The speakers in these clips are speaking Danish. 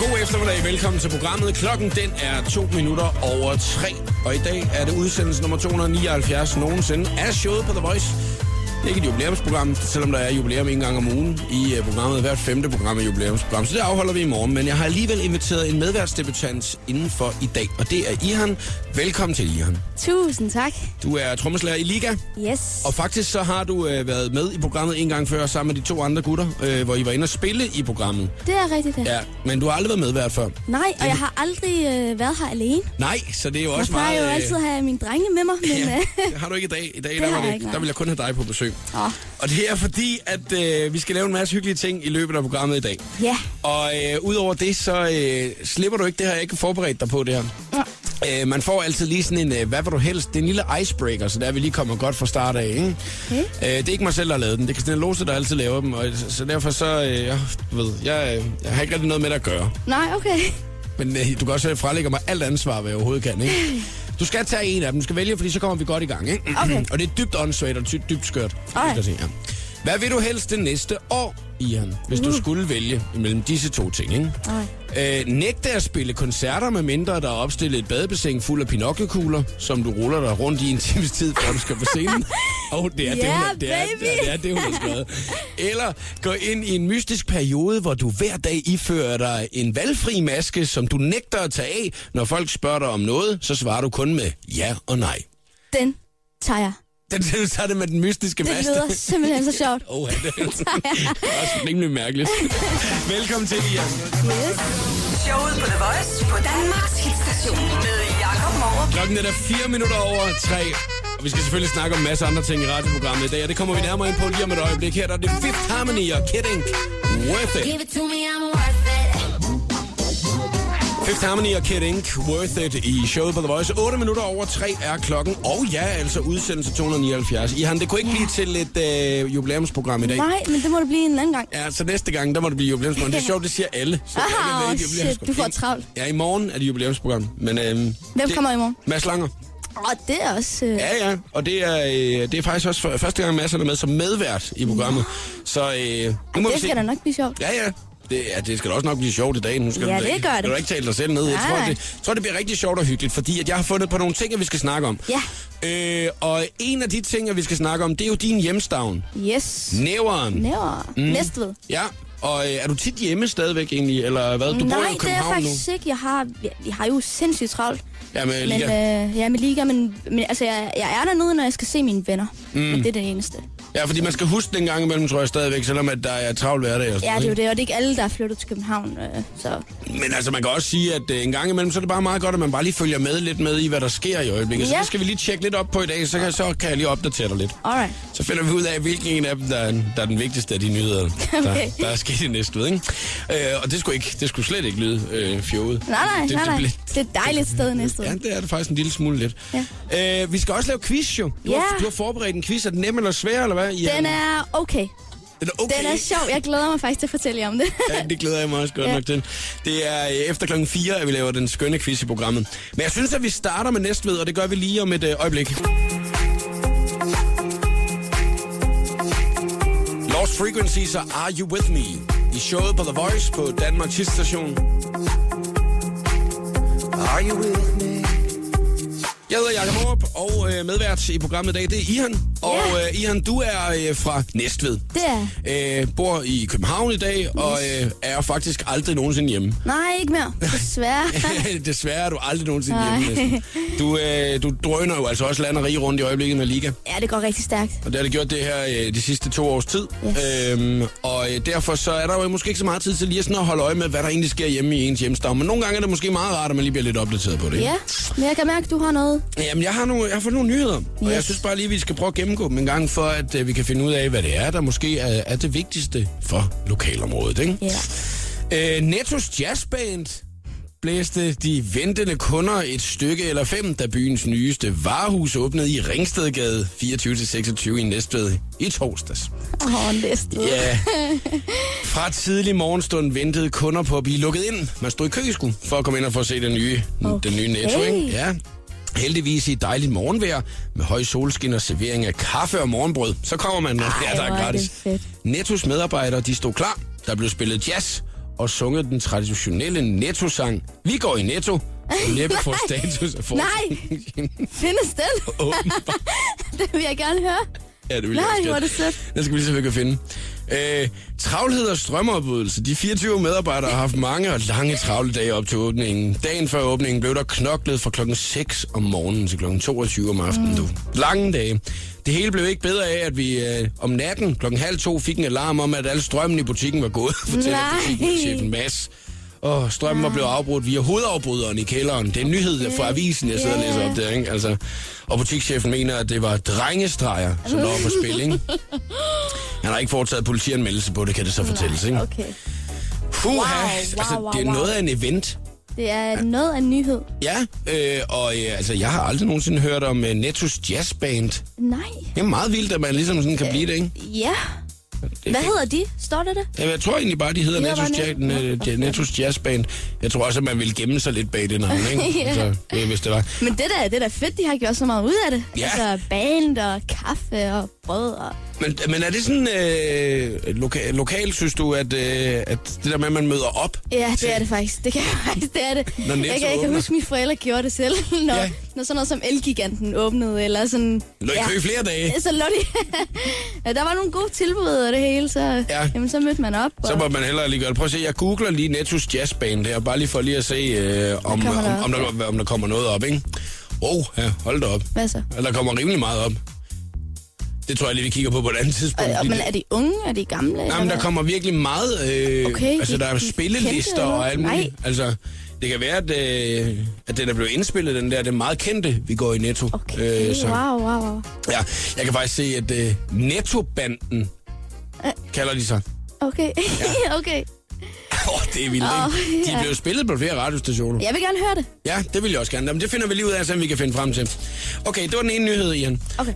god eftermiddag. Velkommen til programmet. Klokken den er to minutter over tre. Og i dag er det udsendelse nummer 279 nogensinde af showet på The Voice. Det er ikke et jubilæumsprogram, selvom der er jubilæum en gang om ugen i øh, programmet. Hvert femte program er jubilæumsprogram, så det afholder vi i morgen. Men jeg har alligevel inviteret en medværtsdebutant indenfor i dag, og det er Ihan. Velkommen til, Ihan. Tusind tak. Du er trommeslager i Liga, Yes. og faktisk så har du øh, været med i programmet en gang før sammen med de to andre gutter, øh, hvor I var inde og spille i programmet. Det er rigtigt, det. Ja. Ja, men du har aldrig været medvært før. Nej, og jeg har aldrig øh, været her alene. Nej, så det er jo Jeg også plejer meget... øh, jo altid at have mine drenge med mig, men øh, det har du ikke i dag. I dag der, har var jeg det, ikke, nej. der vil jeg kun have dig på besøg. Åh. Og det er fordi, at øh, vi skal lave en masse hyggelige ting i løbet af programmet i dag. ja. Og øh, udover det, så øh, slipper du ikke det her. Jeg har ikke forberedt dig på det her. Øh, man får altid lige sådan en, øh, hvad vil du helst? Det er en lille icebreaker, så der vi lige kommer godt fra start af. Ikke? Okay. Øh, det er ikke mig selv, der har lavet den. Det er Christina Lose, der altid laver dem. Og, så så derfor så, øh, jeg, du ved, jeg, øh, jeg har ikke rigtig noget med det at gøre. Nej, okay. Men øh, du kan også frelægge mig alt ansvar, hvad jeg overhovedet kan, ikke? Du skal tage en af dem. Du skal vælge, fordi så kommer vi godt i gang, ikke? Okay. og det er dybt åndssvagt og dybt, dybt skørt. Ej. Jeg skal sige, ja. Hvad vil du helst det næste år, Ian, hvis du skulle vælge imellem disse to ting, ikke? Uh. Ej. Øh, nægte at spille koncerter, med mindre der er opstillet et badebassin fuld af pinokkekugler, som du ruller dig rundt i en times tid, før du skal på scenen. Og oh, det er det, hun, Yeah, det, er, det, baby! er, det, er, det, hun har skrevet. Eller gå ind i en mystisk periode, hvor du hver dag ifører dig en valgfri maske, som du nægter at tage af. Når folk spørger dig om noget, så svarer du kun med ja og nej. Den tager jeg. Den den tager det med den mystiske Det maske. lyder simpelthen så sjovt. Åh, oh, det er også rimelig mærkeligt. Velkommen til, Ian. Yes. Showet på The Voice på Danmarks hitstation med Jakob Morup. Klokken er der fire minutter over tre. Og vi skal selvfølgelig snakke om en masse andre ting i radioprogrammet i dag, og det kommer vi nærmere ind på lige om et øjeblik. Her der er det Fifth Harmony og Kid Ink. Worth it. Give it to me, I'm worth it. Fifth Harmony og Kid Ink. Worth it i showet på The Voice. 8 minutter over tre er klokken. Og ja, altså udsendelse 279. Ihan, det kunne ikke blive til et øh, jubilæumsprogram i dag. Nej, men det må det blive en anden gang. Ja, så næste gang, der må det blive jubilæumsprogram. Det er sjovt, det siger alle. Så Ah, alle ved, shit, jubilæumsprogram. du får travlt. Ja, i morgen er det jubilæumsprogram. Men, øhm, Hvem det, kommer i morgen? Mads Langer. Og det er også... Øh, Ja, ja, og det er, øh, det er faktisk også for, første gang, Mads er med som medvært i programmet. Så øh, nu må vi det se. skal da nok blive sjovt. Ja, ja. Det, ja, det skal da også nok blive sjovt i dag. Nu skal Ja, du, da det ikke- gør Skal det. du ikke tale dig selv ned? Jeg Nej. tror, det, tror, det bliver rigtig sjovt og hyggeligt, fordi at jeg har fundet på nogle ting, at vi skal snakke om. Ja. Øh, og en af de ting, at vi skal snakke om, det er jo din hjemstavn. Yes. Mm. Næveren. Næver. Mm. Næstved. Ja, og øh, er du tit hjemme stadigvæk egentlig, eller hvad? Du bor Nej, jo i det er jeg København faktisk ikke. Jeg har, jeg, jeg har jo sindssygt travlt. nu. Ja, men, Men, men, øh, ja, med liga, men, men altså, jeg, jeg er dernede, når jeg skal se mine venner. Mm. Men det er det eneste. ja, fordi man skal huske den gang imellem, tror jeg stadigvæk, selvom at der er travl hverdag. og sådan Ja, noget, det er ikke? jo det, og det er ikke alle, der er flyttet til København, øh, så... Men altså, man kan også sige, at øh, en gang imellem, så er det bare meget godt, at man bare lige følger med lidt med i, hvad der sker i øjeblikket. Ja. Så Ja. det skal vi lige tjekke lidt op på i dag, så kan, så kan jeg lige opdatere dig lidt. Alright. Så finder vi ud af, hvilken en af dem, der er, der er den vigtigste af de nyheder, Okay. der, der er sket i næste ved, ikke? Øh, og det skulle, ikke, det skulle slet ikke lyde øh, fjollet. Nej, nej, det, nej, nej. Det, blev- Det er et dejligt sted næste Ja, år. det er det faktisk en lille smule lidt. Ja. Øh, vi skal også lave quiz, jo. Du, har, Ja. du har forberedt en quiz. Er den nem eller svær, eller hvad? Ja, Den er okay. den er, okay. Den er sjov. Jeg glæder mig faktisk til at fortælle jer om det. Ja, det glæder jeg mig også godt ja. Ja. nok til. Det er øh, efter klokken 4, at vi laver den skønne quiz i programmet. Men jeg synes, at vi starter med Næstved, og det gør vi lige om et øh, øjeblik. Lost Frequencies og Are You With Me i showet på The Voice på Danmarks station. Are you with me? Jeg hedder Jakob Morup, og øh, medvært i programmet i dag, det er Ihan. Og Ja. øh, Ihan, du er øh, fra Næstved. Det er... Øh, bor i København i dag, og øh, er faktisk aldrig nogensinde hjemme. Nej, ikke mere. Desværre. Desværre er du aldrig nogensinde Nej. hjemme. næsten. Du, øh, du drøner jo altså også land og rige rundt i øjeblikket med Liga, Ja, det går rigtig stærkt. og det har det gjort det her øh, de sidste to års tid. Yes. Øhm, og øh, derfor så er der jo måske ikke så meget tid til lige sådan at holde øje med, hvad der egentlig sker hjemme i ens hjemstavn. Men nogle gange er det måske meget rart, at man lige bliver lidt opdateret på det. ikke? Ja, men jeg kan mærke, at du har noget. Jamen, jeg har, nogle, jeg har fået nogle nyheder, yes. og Yes. jeg synes bare lige, vi skal prøve at gennemgå dem en gang, for at øh, vi kan finde ud af, hvad det er, der måske er, er det vigtigste for lokalområdet. Ikke? Øh, Nettos Jazzband blæste de ventende kunder et stykke eller fem, da byens nyeste varehus åbnede i Ringstedgade 24-26 i Næstved i torsdags. Åh, oh, næstved. Ja. Fra tidlig morgenstund ventede kunder på at blive lukket ind. Man stod i køsku for at komme ind og få se den nye, okay. den nye netto, ikke? Okay. Ja. Heldigvis i dejligt morgenvejr med høj solskin og servering af kaffe og morgenbrød. Så kommer man, når det er, der hvor er er det gratis. fedt. Nettos medarbejdere, de stod klar. Der blev spillet jazz, og sunget den traditionelle Netto-sang. Vi går i Netto. Og Næppe får status af Nej. Findes den? Åbenbart. det vil jeg gerne høre. Ja, det vil Nej, jeg også hvor er gerne. det sødt. Den skal vi lige se, hvad vi kan finde. Øh, travlhed og strømopbydelse. De 24 medarbejdere har haft mange og lange travle dage op til åbningen. Dagen før åbningen blev der knoklet fra klokken 6 om morgenen til klokken 22 om aftenen. Du. Lange dage. Det hele blev ikke bedre af, at vi øh, om natten klokken halv to fik en alarm om, at al strømmen i butikken var gået, fortæller Nej. butikschefen Mads. Og strømmen var blevet afbrudt via hovedafbryderen i kælderen. Det er en nyhed fra avisen, jeg sidder og læser op der, ikke? Altså, og butikschefen mener, at det var drengestreger, som der var på spil, ikke? Han har ikke foretaget politianmeldelse på det, kan det så fortælles, ikke? Okay. Puha, wow, wow, altså, wow, det er wow. noget af en event. Det er noget af en nyhed. Ja, øh, og øh, altså, jeg har aldrig nogensinde hørt om øh, Nettos Jazzband. Nej. Det er meget vildt, at man ligesom sådan kan blive det, ikke? Ja. Hvad hedder de? Står der det? Jamen, jeg tror egentlig bare, de hedder De hedder Nettos, bare Jack, Netto. Net- Nå, det er Nettos Jazzband. Jeg tror også, at man ville gemme sig lidt bag det navn, ikke? Ja. altså, øh, hvis det var. Men det der, det er da fedt, de har gjort så meget ud af det. Ja. Altså band og kaffe og brød og... Men, men er det sådan øh, loka- lokalt, synes du, at, øh, at det der med, at man møder op? Ja, det er det faktisk. Det kan jeg faktisk, det er det. Når Netto jeg, kan, jeg kan åbner. huske, at mine forældre gjorde det selv, når, Ja. ja. når sådan noget som Elgiganten åbnede, eller sådan... Lå i kø i flere dage? Så lå de... ja, der var nogle gode tilbud og det hele, så, Ja. ja. jamen, så mødte man op. Så og... må man hellere lige gøre det. Prøv at se, jeg googler lige Nettos Jazzband her, bare lige for lige at se, øh, om, kommer der om, om, der, om der kommer noget op, ikke? Oh, ja, hold da op. Hvad så? Ja, Der kommer rimelig meget op. Det tror jeg lige, vi kigger på på et andet Og, tidspunkt. og, Lige- men er de unge? Er de gamle? eller Nej, men der hvad? kommer virkelig meget... Øh, Okay, altså, de- der er de er spillelister kendte, og alt eller? muligt. Altså, det kan være, at, øh, at den er blevet indspillet, den der. Det er meget kendte, vi går i Netto. Okay, Øh, så, wow, wow, wow. ja, jeg kan faktisk se, at øh, Netto-banden kalder de sig. Okay, okay. Åh, oh, det er vildt, Åh, ikke? De ja. er blevet spillet på flere radiostationer. Jeg vil gerne høre det. Ja, det vil jeg også gerne. Jamen, det finder vi lige ud af, så vi kan finde frem til. Okay, det var den ene nyhed, Ian. Okay.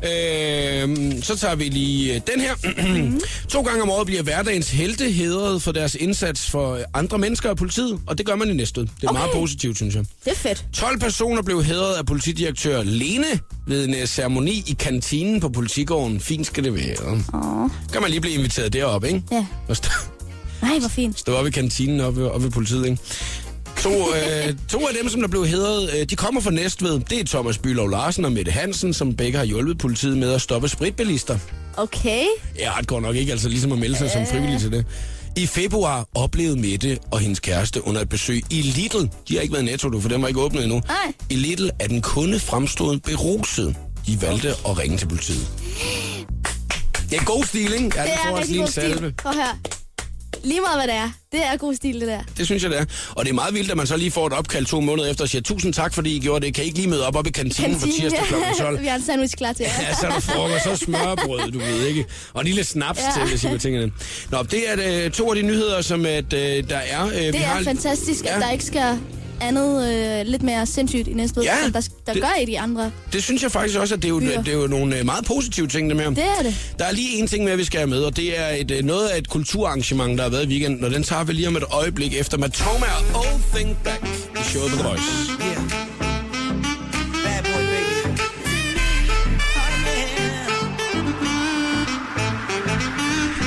Øhm, så tager vi lige øh, den her. to gange om året bliver hverdagens helte hedret for deres indsats for øh, andre mennesker og politiet, og det gør man i næste. Det er okay. meget positivt, synes jeg. Det er fedt. 12 personer blev hedret af politidirektør Lene ved en øh, ceremoni i kantinen på politigården. Fint skal det være. Åh, Kan man lige blive inviteret derop, ikke? ja. Og stå- Nej, hvor fint. stå op i kantinen oppe ved, oppe ved politiet, ikke? To, øh, to af dem, som der blev hedret, øh, de kommer fra Næstved. Det er Thomas Bylov Larsen og Mette Hansen, som begge har hjulpet politiet med at stoppe spritbilister. Okay. Ja, det går nok ikke, altså ligesom at melde sig som frivillig til det. I februar oplevede Mette og hendes kæreste under et besøg i Lidl. De har ikke været i netto, du, for den var ikke åbnet endnu. Nej. I Lidl er den kunde fremstået beruset. De valgte at ringe til politiet. Det er god stil, ikke? Ja, Det får er også rigtig lige en god salve. stil. Prøv at høre. Lige meget, hvad det er. Det er god stil, det der. Det synes jeg, det er. Og det er meget vildt, at man så lige får et opkald to måneder efter og siger, tusind tak, fordi I gjorde det. Kan I ikke lige møde op op i kantinen for tirsdag kl. 12? Vi har en sandwich klar til jer. Ja, så er der frokost, så smørbrød, du ved ikke. Og en lille snaps ja. Ja. til, hvis I vil tænke det. Nå, det er øh, to af de nyheder, som at, øh, der er. Øh, vi Det har... er fantastisk, Ja. at der ikke skal andet øh, lidt mere sindssygt i næste Ja, som der, der det- gør i de andre. Det synes jeg faktisk også, at det er jo, Byer. det er jo nogle øh, meget positive ting, det med. Det er det. Der er lige en ting mere, vi skal have med, og det er et, øh, noget af et kulturarrangement, der har været i weekenden, og den tager vi lige om et øjeblik efter Matoma og Old Thing Back i showet på The Voice. Yeah. Bad boy, baby.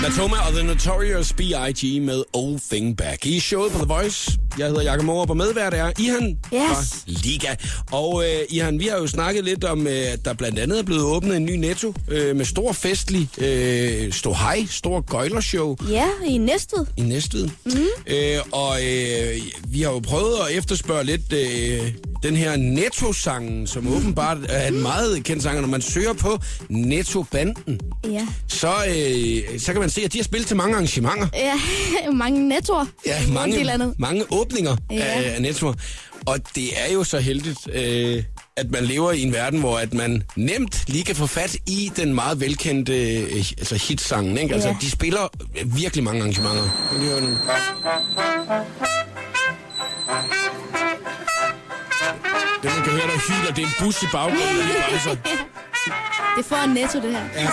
Natoma og The Notorious B.I.G. med Old Thing Back. I er showet på The Voice. Jeg hedder Jakob Morup, og medvært er Ihan Yes. fra Liga. Og øh, Ihan, vi har jo snakket lidt om, øh, at der blandt andet er blevet åbnet en ny netto øh, med stor festlig, øh, stor hej, stor gøjlershow Ja, i næste. i Næstved. Mm. Øh, og øh, vi har jo prøvet at efterspørge lidt øh, den her Netto-sangen, som åbenbart er en meget kendt sang, og når man søger på Netto-banden Ja. så, øh, så kan man se, at de har spillet til mange arrangementer. Ja, mange nettoer. Ja, Rundt i mange, landet. mange åbninger ja. Ja. af, af nettoer. Og det er jo så heldigt, øh, at man lever i en verden, hvor at man nemt lige kan få fat i den meget velkendte øh, altså hitsangen. Ikke? Altså, Ja. de spiller virkelig mange arrangementer. Kan du høre den? Det, man kan høre, der hyler, det er altså. en bus i baggrunden, der lige bremser. Det får en netto, det her. Ja.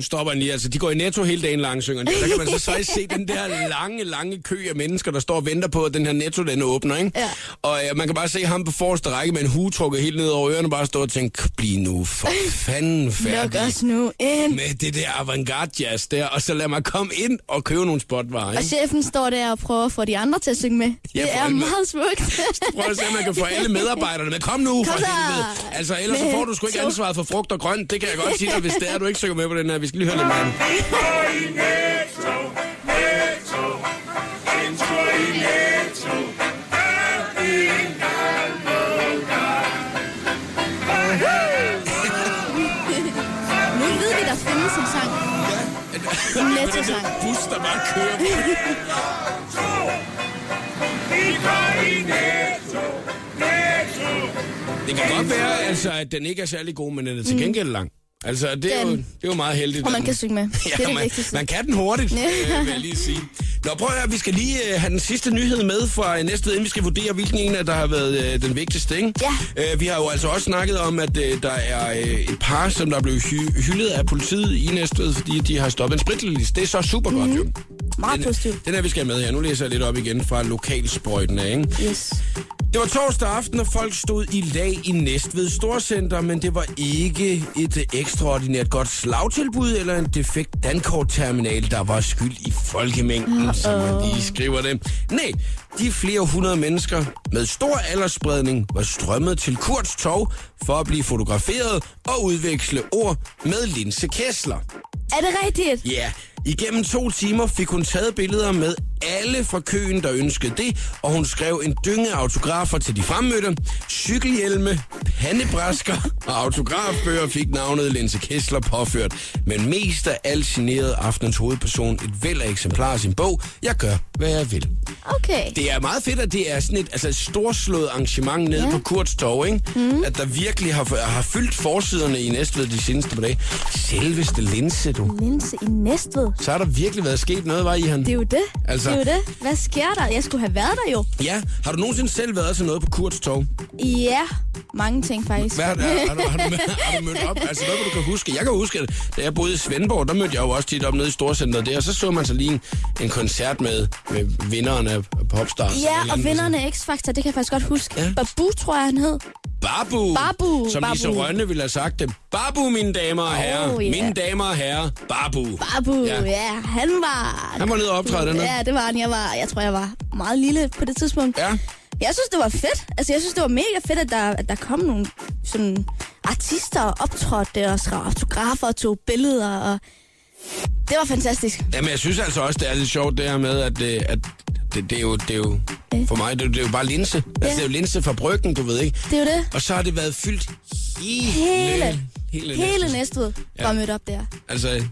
stopper den lige. Altså, de går i netto hele dagen lang, synger de. Der kan man så faktisk se den der lange, lange kø af mennesker, der står og venter på, at den her netto, den åbner, ikke? Ja. Og øh, man kan bare se ham på forreste række med en hue trukket helt ned over ørerne, bare stå og tænke, bliv nu for fanden Luk færdig os nu ind. med det der avantgarde jazz der, og så lad mig komme ind og købe nogle spotvarer, Og ikke? chefen står der og prøver at få de andre til at synge med. Ja, det for er helvede. meget smukt. Prøv at se, om man kan få alle medarbejderne med. Kom nu, for Kom så. helvede. Altså, ellers så får du sgu ikke Så. ansvaret for frugt og grønt. Det kan jeg godt sige dig, hvis det er, du ikke synger med på den her. Vi skal lige høre lidt mere. nu ved vi, der findes en sang. En Netto-sang. bus, der bare kører. Det kan godt være, altså, at den ikke er særlig god, men den er til gengæld lang. Altså, det er, jo, det Mm. Den. er jo meget heldigt. Og man at- kan synge med. Det er Ja, det man, vigtigste. man kan den hurtigt, øh, vil jeg lige sige. Nå, prøv at høre, vi skal lige øh, have den sidste nyhed med fra øh, næste ved, inden vi skal vurdere, hvilken en af der har været øh, den vigtigste, ikke? Ja. Øh, vi har jo altså også snakket om, at øh, der er øh, et par, som der er blevet hy- hyldet af politiet i Næstved, fordi de har stoppet en spritlist. Det er så super godt, jo. Mhm. Meget positivt. Den her, vi skal have med her. Nu læser jeg lidt op igen fra lokalsprøjten af, ikke? Yes. Det var torsdag aften, og folk stod i lag i Næstved Storcenter, men det var ikke et øh, ekstraordinært godt slagtilbud eller en defekt dankortterminal, der var skyld i folkemængden, som man lige skriver det. Nej, de flere hundrede mennesker med stor aldersspredning var strømmet til Kurts tog for at blive fotograferet og udveksle ord med Linse Kessler. Er det rigtigt? Ja, yeah. igennem to timer fik hun taget billeder med alle fra køen, der ønskede det, og hun skrev en dynge af autografer til de fremmødte. Cykelhjelme, pandebræsker og autografbøger fik navnet Lense Kessler påført, men mest af alt generede aftenens hovedperson et væld af eksemplarer af sin bog, Jeg gør, hvad jeg vil. Okay. Det er meget fedt, at det er sådan et, altså et storslået arrangement nede ja. på Kurts Torv, ikke? Mm. At der virkelig har, har fyldt forsiderne i Næstved de seneste par dage. Selveste linse, du Linse i Næstved. så har der virkelig været sket noget, var I han? Det er jo det. Altså- Altså... Det er jo det. Hvad sker der? Jeg skulle have været der jo. Ja, har du nogensinde selv været til noget på Kurts Torv? Ja, mange ting faktisk. Hvad har, har, har, du, har, du, har du mødt op? Altså noget, du kan huske. Jeg kan huske, at da jeg boede i Svendborg, der mødte jeg jo også tit op nede i Storcenteret der, og så så man så lige en, en koncert med, med vinderen af Popstars. eller et Ja, eller og andet. vinderne af X-Factor, det kan jeg faktisk godt huske. Ja. Ja. Babu, tror jeg, han hed. Babu, Babu, som Babu. Lise Rønne ville have sagt det. Babu, mine damer og herrer. ja. Mine damer og herrer. Babu. Babu, Ja. ja. ja han var... Han var nede og optræde dernede. Ja, det var han. Jeg, var, jeg tror, jeg var meget lille på det tidspunkt. Ja. Jeg synes, det var fedt. Altså, jeg synes, det var mega fedt, at der, at der kom nogle sådan, artister og optrådte og skrev autografer og tog billeder. Og... Det var fantastisk. Jamen, jeg synes altså også, det er lidt sjovt det her med, at, det, at det, det, er jo, det er jo, for mig, det, er jo- det er jo bare linse. Altså, Ja. det er jo linse fra bryggen, du ved ikke. Det er jo det. Og så har det været fyldt hele... Hele, Hele, hele næsten. Næstved var mødt op der. Altså, jeg,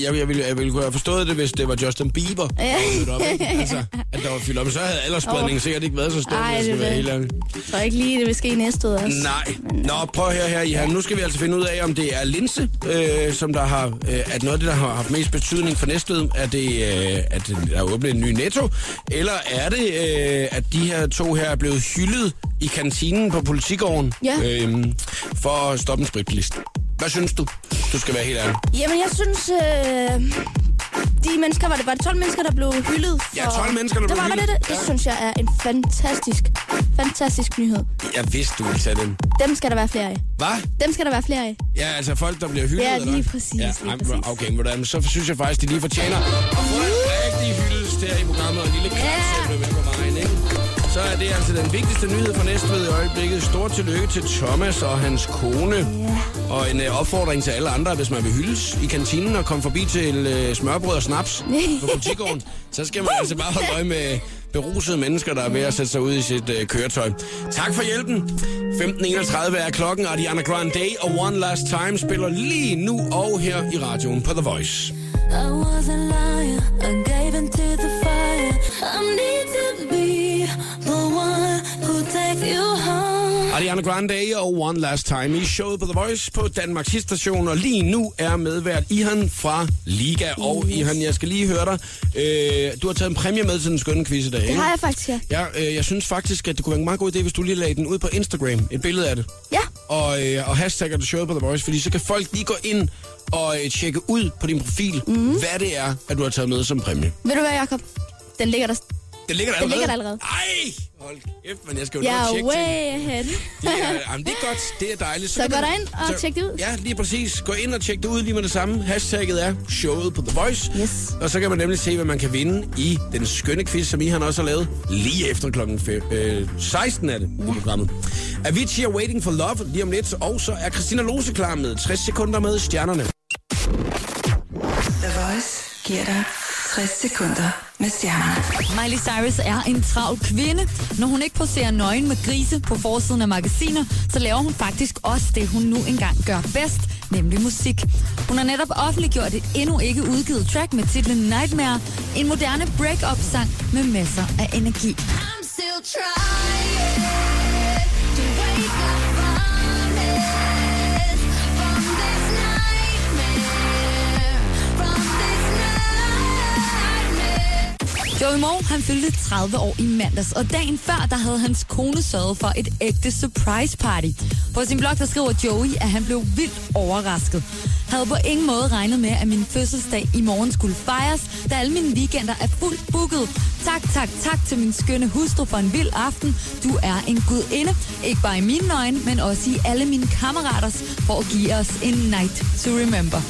jeg, jeg, ville, jeg ville kunne have forstået det, hvis det var Justin Bieber, der var mødt op. ikke? Altså, at der var fyldt op. Så havde aldersspredningen oh. sikkert ikke været så stor, Ej, hvis jeg skal det være ved helt jeg. ærlig. Jeg tror ikke lige, det vil ske i Næstved også. Nej. Nå, prøv her her, Ihan. Nu skal vi altså finde ud af, om det er linse, øh, som der har, øh, at noget af det, der har haft mest betydning for Næstved, er det, øh, at der er åbnet en ny netto, eller er det, øh, at de her to her er blevet hyldet i kantinen på politigården Ja. øh, for at stoppe en spritlist. Hvad synes du? Du skal være helt ærlig. Jamen, jeg synes... Øh, de mennesker, var det, var det 12 mennesker, der blev hyldet? For... Ja, 12 mennesker, der det blev var, var hyldet. Det, det, det Ja. synes jeg er en fantastisk, fantastisk nyhed. Jeg vidste, du ville tage den. Dem skal der være flere af. Hvad? Dem skal der være flere af. Ja, altså folk, der bliver hyldet, Ja, eller lige hvad? præcis, lige ej, præcis. Okay, men hvordan, så synes jeg faktisk, de lige fortjener at få en rigtig hyldest her i programmet, og en lille klaps yeah. med på vejen, ikke? Så er det altså den vigtigste nyhed fra Næstved i øjeblikket. Stort tillykke til Thomas og hans kone. Yeah. Og en øh, opfordring til alle andre, hvis man vil hyldes i kantinen og komme forbi til øh, smørbrød og snaps på butikgården, så skal man altså bare holde øje med berusede mennesker, der er ved at sætte sig ud i sit øh, køretøj. Tak for hjælpen. 15.31 er klokken, og Diana Grande Day og One Last Time spiller lige nu og her i radioen på The Voice. I was a liar. I gave into the fire. I need to be the one who takes you home. Ariana Grande og One Last Time i showet på The Voice på Danmarks Hitstation, og lige nu er medvært Ihan fra Liga. Og Ihan, jeg skal lige høre dig. Øh, du har taget en præmie med til den skønne quiz i dag, Det ikke? har jeg faktisk her. Ja, øh, jeg synes faktisk, at det kunne være en meget god idé, hvis du lige lagde den ud på Instagram. Et billede af det. Ja, og, øh, og hashtagger du showet på The Voice, fordi så kan folk lige gå ind og øh, tjekke ud på din profil, mm. Mhm. hvad det er, at du har taget med som præmie. Ved du hvad, Jacob? Den ligger der. Det ligger der Den allerede. ligger der allerede. Ej, hold kæft, men jeg skal jo Jeg yeah, er tjekke ting. way ahead. Det er, øh, jamen, det er godt, det er dejligt. Så kan gå man- derind og tjek det ud. Ja, lige præcis. Gå ind og tjek det ud lige med det samme. Hashtagget er showet på The Voice. Yes. Og så kan man nemlig se, hvad man kan vinde i den skønne quiz, som I han også har lavet lige efter kl. Øh, 16 er det i programmet. Avicii er Waiting for Love lige om lidt, og så er Christina Lose klar med 60 sekunder med stjernerne. The Voice giver dig 60 sekunder med stjernerne. Miley Cyrus er en travl kvinde. Når hun ikke poserer nøgen med grise på forsiden af magasiner, så laver hun faktisk også det, hun nu engang gør bedst, nemlig musik. Hun har netop offentliggjort et endnu ikke udgivet track med titlen Nightmare, en moderne break-up-sang med masser af energi. I'm still trying to wake up from this, from this nightmare, from this nightmare. Joey Moe, han fyldte 30 år i mandags, og dagen før, der havde hans kone sørget for et ægte surprise party. På sin blog, der skriver Joey, at han blev vildt overrasket. Havde på ingen måde regnet med, at min fødselsdag i morgen skulle fejres, da alle mine weekender er fuldt booket. Tak, tak, tak til min skønne hustru for en vild aften. Du er en gudinde, ikke bare i mine øjne, men også i alle mine kammeraters, for at give os en night to remember.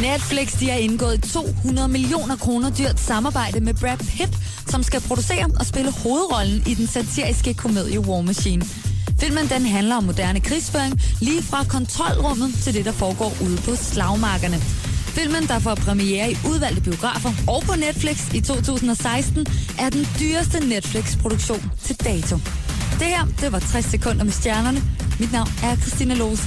Netflix de har indgået 200 millioner kroner dyrt samarbejde med Brad Pitt, som skal producere og spille hovedrollen i den satiriske komedie War Machine. Filmen den handler om moderne krigsføring, lige fra kontrolrummet til det, der foregår ude på slagmarkerne. Filmen, der får premiere i udvalgte biografer og på Netflix i 2016, er den dyreste Netflix-produktion til dato. Det her, det var 60 sekunder med stjernerne. Mit navn er Christina Lose.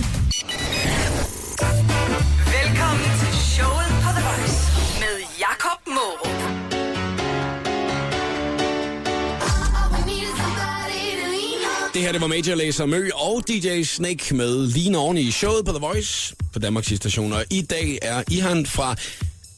Velkommen til showet på The Voice med Jakob Morup. All we need is somebody to lean on. Det her, det var Major Lazer Mø og DJ Snake med Line Oven i showet på The Voice på Danmarks station. Og i dag er Ihan fra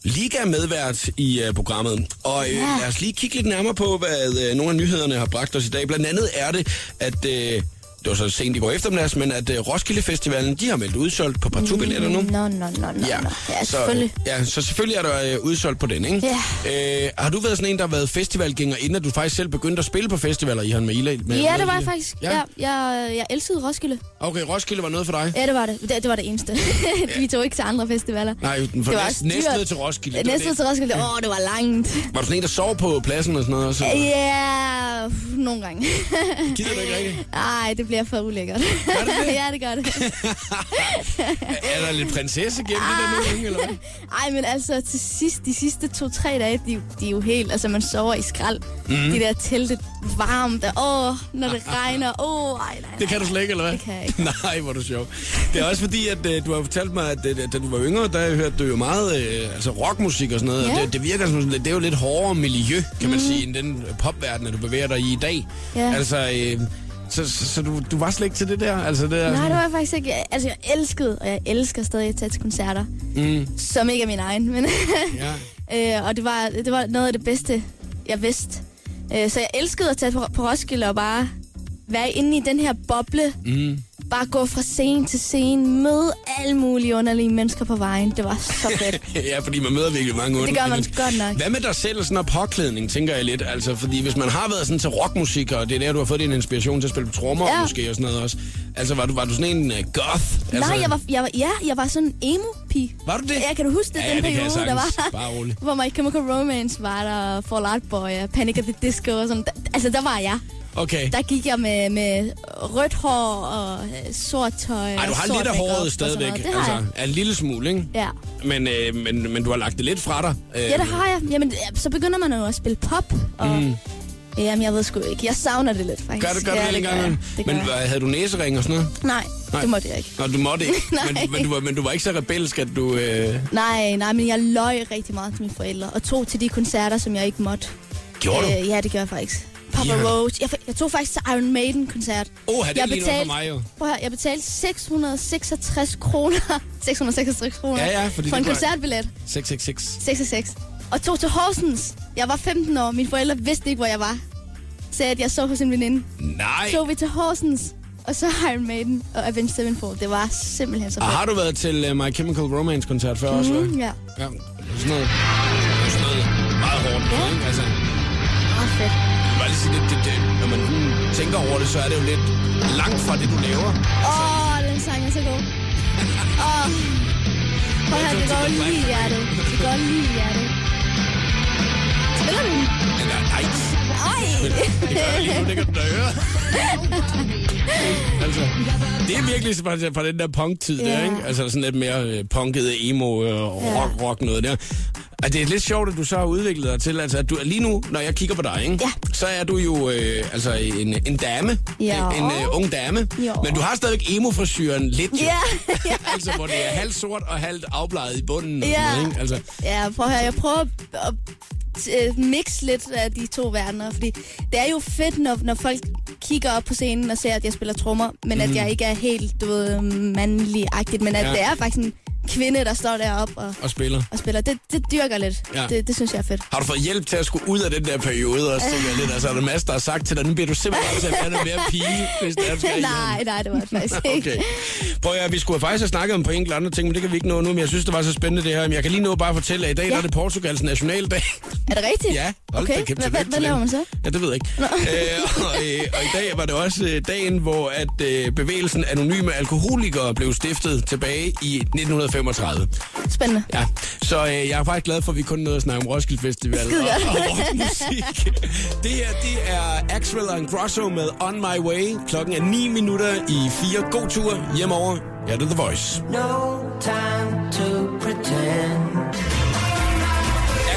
Liga medvært i uh, programmet. Og øh, lad os lige kigge lidt nærmere på, hvad øh, nogle af nyhederne har bragt os i dag. Blandt andet er det, at... Øh, det var så sent i går eftermiddags, men at øh, Roskilde Festivalen, de har meldt udsolgt på partubilletter nu. Nå, nå, nå, nå. nå. Mm. Ja, så, selvfølgelig. øh, ja, så selvfølgelig er der øh, udsolgt på den, ikke? Øh, har du været sådan en, der har været festivalgænger, inden at du faktisk selv begyndte at spille på festivaler, Ihan, med Ila? Med, Ja, med det var jeg Ila? faktisk. Ja. Jeg, jeg, jeg elskede Roskilde. Okay, Roskilde var noget for dig. Ja, det var det. Det, det var det eneste. Vi tog ikke til andre festivaler. Nej, den for Det var næst, også næstved dyrt. til Roskilde. det var Næste det. til Roskilde, åh, det var langt. Var du sådan en, der sov på pladsen og sådan noget? Så Ja, pff, nogle gange. gider du ikke rigtigt? Ej, det bliver for ulækkert. Gør det det? ja, det gør det. Er der lidt prinsesse gennem det der nogle gange, eller hvad? Ej, men altså, til sidst, de sidste to-tre dage, de, de er jo helt... Altså, man sover i skrald. Mhm. Mm. De der telte varmt, og åh, når det regner, åh, ej, nej, nej. Det kan du slet ikke, eller hvad? Det kan jeg ikke. Nej, hvor er du sjov. Det er også fordi, at øh, du har fortalt mig, at øh, da du var yngre, der hørte du jo meget øh, altså rockmusik og sådan noget. Ja. Mhm. Og det, det virker som, sådan lidt- det er jo lidt hårdere miljø, kan man sige, end den popverden, at du bevæger dig i i dag. Ja. Altså, øh, så, så, så du, du var slet ikke til det der? Altså, det der Nej, det var jeg faktisk ikke. Jeg- Altså, jeg elskede, og jeg elsker stadig at tage til koncerter. Mhm. Mm. Som ikke er min egen, men... Ja. øh, og det var, det var noget af det bedste, jeg vidste. Øh, så jeg elskede at tage på, på Roskilde og bare være inde i den her boble. Mm. Bare gå fra scene til scene, møde alle mulige underlige mennesker på vejen. Det var så fedt. ja, fordi man møder virkelig mange onde. Det gør man mennesker. godt nok. Hvad med dig selv og sådan noget påklædning, tænker jeg lidt? Altså, fordi hvis man har været sådan til rockmusik, og det er der, du har fået din inspiration til at spille på trommer ja. Ja. måske og sådan noget også. Altså, var du, var du sådan en uh, goth? Altså, Altså... Nej, jeg var, jeg var, ja, jeg var sådan en emo-pige. Var du det? Ja, kan du huske det, Ja, ja, den det kan jeg periode, der sagtens. var? Bare rolig. Hvor My Chemical Romance var der, og Fall Out Boy, og Panic at the Disco og sådan. Der, altså, der var jeg. Okay. Der gik jeg med, med rødt hår og øh, sort tøj. Ej, du og har sort lidt af makeup og håret sådan stadigvæk. noget. Det har jeg. altså, en lille smule, ikke? Ja. Men, øh, men, men du har lagt det lidt fra dig. Øh, Ja, det har jeg. Jamen, ja, så begynder man jo at spille pop, og... Mm. Jamen, jeg ved sgu ikke. Jeg savner det lidt, faktisk. Gør det, gør det, ja, ja, det, gør gang. jeg. Det gør Men jeg. hvad, havde du næsering og sådan noget? Nej, Nej. Nej, det måtte jeg ikke. Nå, du måtte ikke. men, Nej. men, du var, men du var ikke så rebelsk, at du... Øh... Nej, nej, men jeg løj rigtig meget til mine forældre, og tog til de koncerter, som jeg ikke måtte. Gjorde du? Øh, ja, det gør jeg faktisk. Papa Ja. yeah. Roach. Jeg, jeg tog faktisk til Iron Maiden-koncert. Åh, det jeg lige noget for mig jo. Prøv at høre, jeg betalte 666 kroner. 666 kroner. Ja, ja, fordi for det en kunne jeg- koncertbillet. 666. 666. Og tog til Horsens. Jeg var 15 år. Mine forældre vidste ikke, hvor jeg var. Sagde, at jeg så hos en veninde. Nej. Tog vi til Horsens. og så Iron Maiden og Avenged Sevenfold. Det var simpelthen så Og fedt. Ah, har du været til uh, My Chemical Romance-koncert før mm, også? hva'? Mm, ja, Ja, sådan noget. Det er jo sådan noget meget hårdt noget, ikke? Altså, meget fedt. jeg vil bare lige sige, det, det, det, når man sådan tænker over det, så er det jo lidt langt fra det, du laver. Åh, oh, den sang er så god. Åh. Oh. Prøv at høre, det går lige i hjertet. Det går lige i hjertet. Spiller du den? Eller, nej, Ej! det gør jeg lige nu, det kan du da høre. altså, det er virkelig fra, fra den der punk-tid der, Ja. ikke? Altså sådan lidt mere øh, punket emo øh, og rock, rock noget der. Og det er lidt sjovt, at du så har udviklet dig til, altså at du, lige nu, når jeg kigger på dig, ikke? Ja. så er du jo øh, altså en, en dame, Ja. en, en øh, ung dame, Ja. men du har stadigvæk emo-frisyren lidt, jo. Ja, ja. altså hvor det er halvt sort og halvt afbleget i bunden. Og Ja. sådan noget, ikke? Altså, Ja, prøv at høre, jeg prøver at, at øh, mixe lidt af de to verdener, fordi det er jo fedt, når, når folk kigger op på scenen og ser, at jeg spiller trommer, men mm. at jeg ikke er helt, du ved, mandlig-agtigt, men at Mhm. Ja. ja. det er faktisk en kvinde, der står deroppe og, og spiller. og spiller. Det, det dyrker lidt. Ja. Det, det synes jeg er fedt. Har du fået hjælp til at skulle ud af den der periode? Og så tænker jeg lidt, altså er der masser, der har sagt til dig, nu bliver du simpelthen altså at være mere pige, hvis det er, du skal nej, nej, det var det faktisk ikke. Okay. Prøv at høre, vi skulle faktisk have snakket om på enkelte andre ting, men det kan vi ikke nå nu, men jeg synes, det var så spændende det her. Men jeg kan lige nå bare at fortælle, at i dag ja. der er det Portugals nationaldag. Er det rigtigt? ja, hold da okay. kæft, tillykke Hvad, hvad, til hvad dem. laver man så? Ja, det ved jeg ikke. Øh, og, øh, og i dag var det også øh, dagen, hvor at øh, bevægelsen Anonyme Alkoholikere blev stiftet tilbage i 1935. Spændende. Ja, så øh, jeg er faktisk glad for, at vi kun nåede at snakke om Roskilde Festival Skide og, godt. og rockmusik. Det her, det er Axel og Grosso med On My Way. Klokken er 9 minutter i 4. God tur hjemover. Ja, det er The Voice. No time to pretend.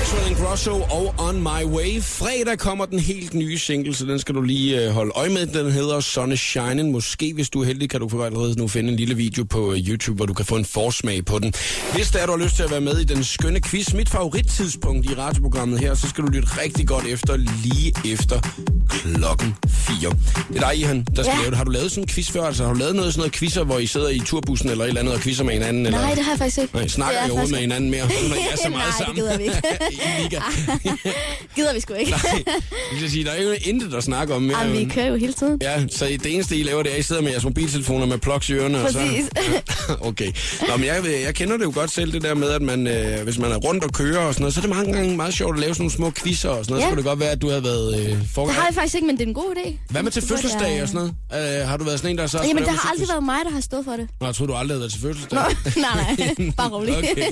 Axel and Grosso og On My Way. Fredag kommer den helt nye single, så den skal du lige øh, holde øje med. Den hedder Sun is Shining. Måske, hvis du er heldig, kan du for allerede nu finde en lille video på øh, YouTube, hvor du kan få en forsmag på den. Hvis der er, du har lyst til at være med i den skønne quiz, mit favorittidspunkt i radioprogrammet her, så skal du lytte rigtig godt efter, lige efter klokken 4. Det er dig, Ihan, der skal ja. Ja. lave det. Har du lavet sådan en quiz før? Altså, har du lavet noget sådan noget quizzer, hvor I sidder i turbussen eller et eller andet og quizzer med hinanden? eller? Nej, det har jeg faktisk ikke. Nej, snakker Det er I overhovedet faktisk med hinanden mere, når I er så meget Nej, det sammen? gider vi ikke. I liga. Gider vi sgu ikke. Nej, jeg skal sige, der er jo intet at snakke om mere. Jamen, vi kører jo hele tiden. Ja, så det eneste, I laver, det er, at I sidder med jeres mobiltelefoner med plugs i ørerne. Præcis. Og så... okay. Nå, men jeg, jeg kender det jo godt selv, det der med, at man, øh, hvis man er rundt og kører og sådan noget, så er det mange gange meget sjovt at lave sådan nogle små quizzer og sådan noget. Ja. Så Ja. kunne det godt være, at du havde været øh, Det forgang. har jeg faktisk ikke, men det er en god idé. Hvad med til Det kunne godt fødselsdag være- og sådan noget? Øh, har du været sådan en, der så... Jamen, der har aldrig været mig, der har stået for det. Nå, jeg troede, du aldrig havde været til fødselsdag. Nå, nej, nej. Bare rolig. Okay.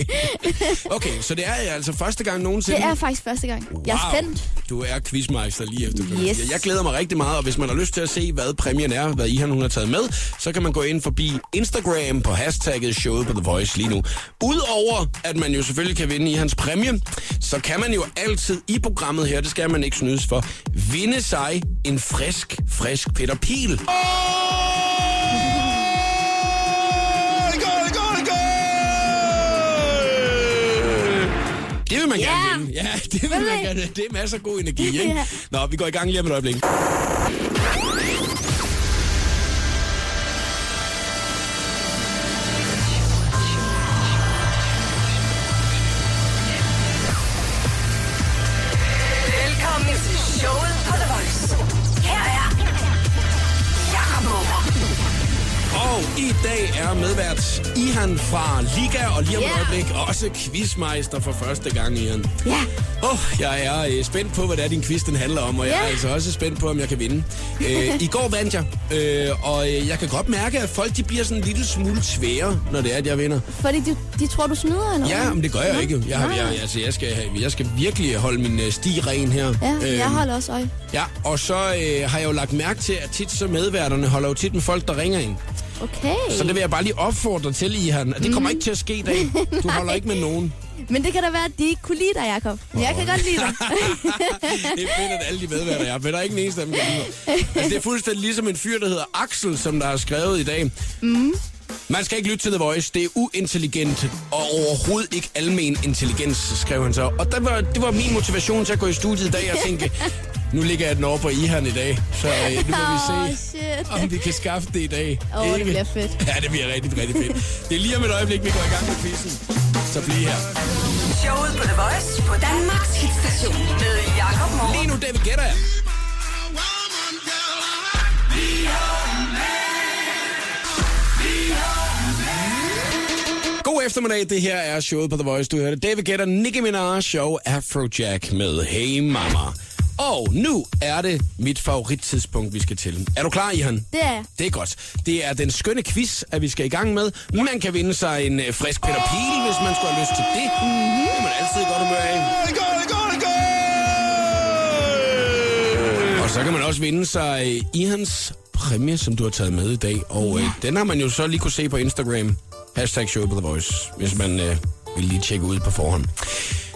okay, så det er altså første gang nogensinde. Det er faktisk første gang. Jeg er spændt. Du er quizmeister lige efter. Yes. Jeg glæder mig rigtig meget, og hvis man har lyst til at se, hvad præmien er, hvad Ihan hun har taget med, så kan man gå ind forbi Instagram på hashtagget showet på The Voice lige nu. Udover at man jo selvfølgelig kan vinde Ihans præmie, så kan man jo altid i programmet her, det skal man ikke snydes for, vinde sig en frisk, frisk Peter Pil. Åh, det går, det går, det går! Øh, Det vil man Ja. gerne vinde. Ja, det vil man det? gerne. Det er masser af god energi, ikke? Ja. Nå, vi går i gang lige om et øjeblik. Velkommen til showet på The Voice. Her er Jakob Møller. Og i dag er medvært Ihan fra Liga, og lige om et Ja. øjeblik også quizmeister for første gang, Ihan. Ja. Åh, oh, jeg er øh, spændt på, hvad det er, din quiz den handler om, og jeg Ja. er altså også spændt på, om jeg kan vinde. Øh, I går vandt jeg, øh, og øh, jeg kan godt mærke, at folk de bliver sådan en lille smule svære, når det er, at jeg vinder. Fordi de, de tror, du snyder, eller Ja, hvad? men det gør jeg Nå. ikke. jo. Jeg, Nej. jeg, jeg, altså, jeg, skal, have- jeg skal virkelig holde min øh, sti ren her. Ja, jeg Øhm, holder også øje. Ja, og så øh, har jeg jo lagt mærke til, at tit så medværterne holder jo tit med folk, der ringer ind. Okay. Så det vil jeg bare lige opfordre til, Ihan. at Det kommer ikke til at ske i dag. Du holder ikke med nogen. Men det kan da være, at de ikke kunne lide dig, Jacob. Men jeg kan godt lide dig. Det er fedt, at alle de medværter jeg har, men der er ikke en eneste af dem, der lyder. altså, det er fuldstændig ligesom en fyr, der hedder Axel, som der har skrevet i dag. Mm. Man skal ikke lytte til The Voice. Det er uintelligent og overhovedet ikke almen intelligens, skrev han så. Og der var, det var min motivation til at gå i studiet i dag og tænke, nu ligger jeg den over på Ihan i dag, så øh, nu må Åh, vi se. shit. om vi kan skaffe det i dag. Åh, det Ikke? bliver fedt. Ja, det bliver rigtig, rigtig fedt. Det er lige om et øjeblik, vi går i gang med quizzen. Så bliv her. Showet på The Voice på Danmarks hitstation med Jakob Møller. Lige nu, David Guetta. eftermiddag, det her er showet på The Voice. Du hørte David Guetta, Nicki Minaj, show Afrojack med Hey Mama. Og nu er det mit favorittidspunkt, vi skal til. Er du klar, Ihan? Det er jeg. Det er godt. Det er den skønne quiz, at vi skal i gang med. Man kan vinde sig en øh, frisk Peter Pil, hvis man skulle have lyst til det. Det er man altid i godt humør af. Og så kan man også vinde sig øh, i hans præmie, som du har taget med i dag. Og øh, den har man jo så lige kunne se på Instagram. Hashtag show på The Voice, hvis man øh, vil lige tjekke ud på forhånd.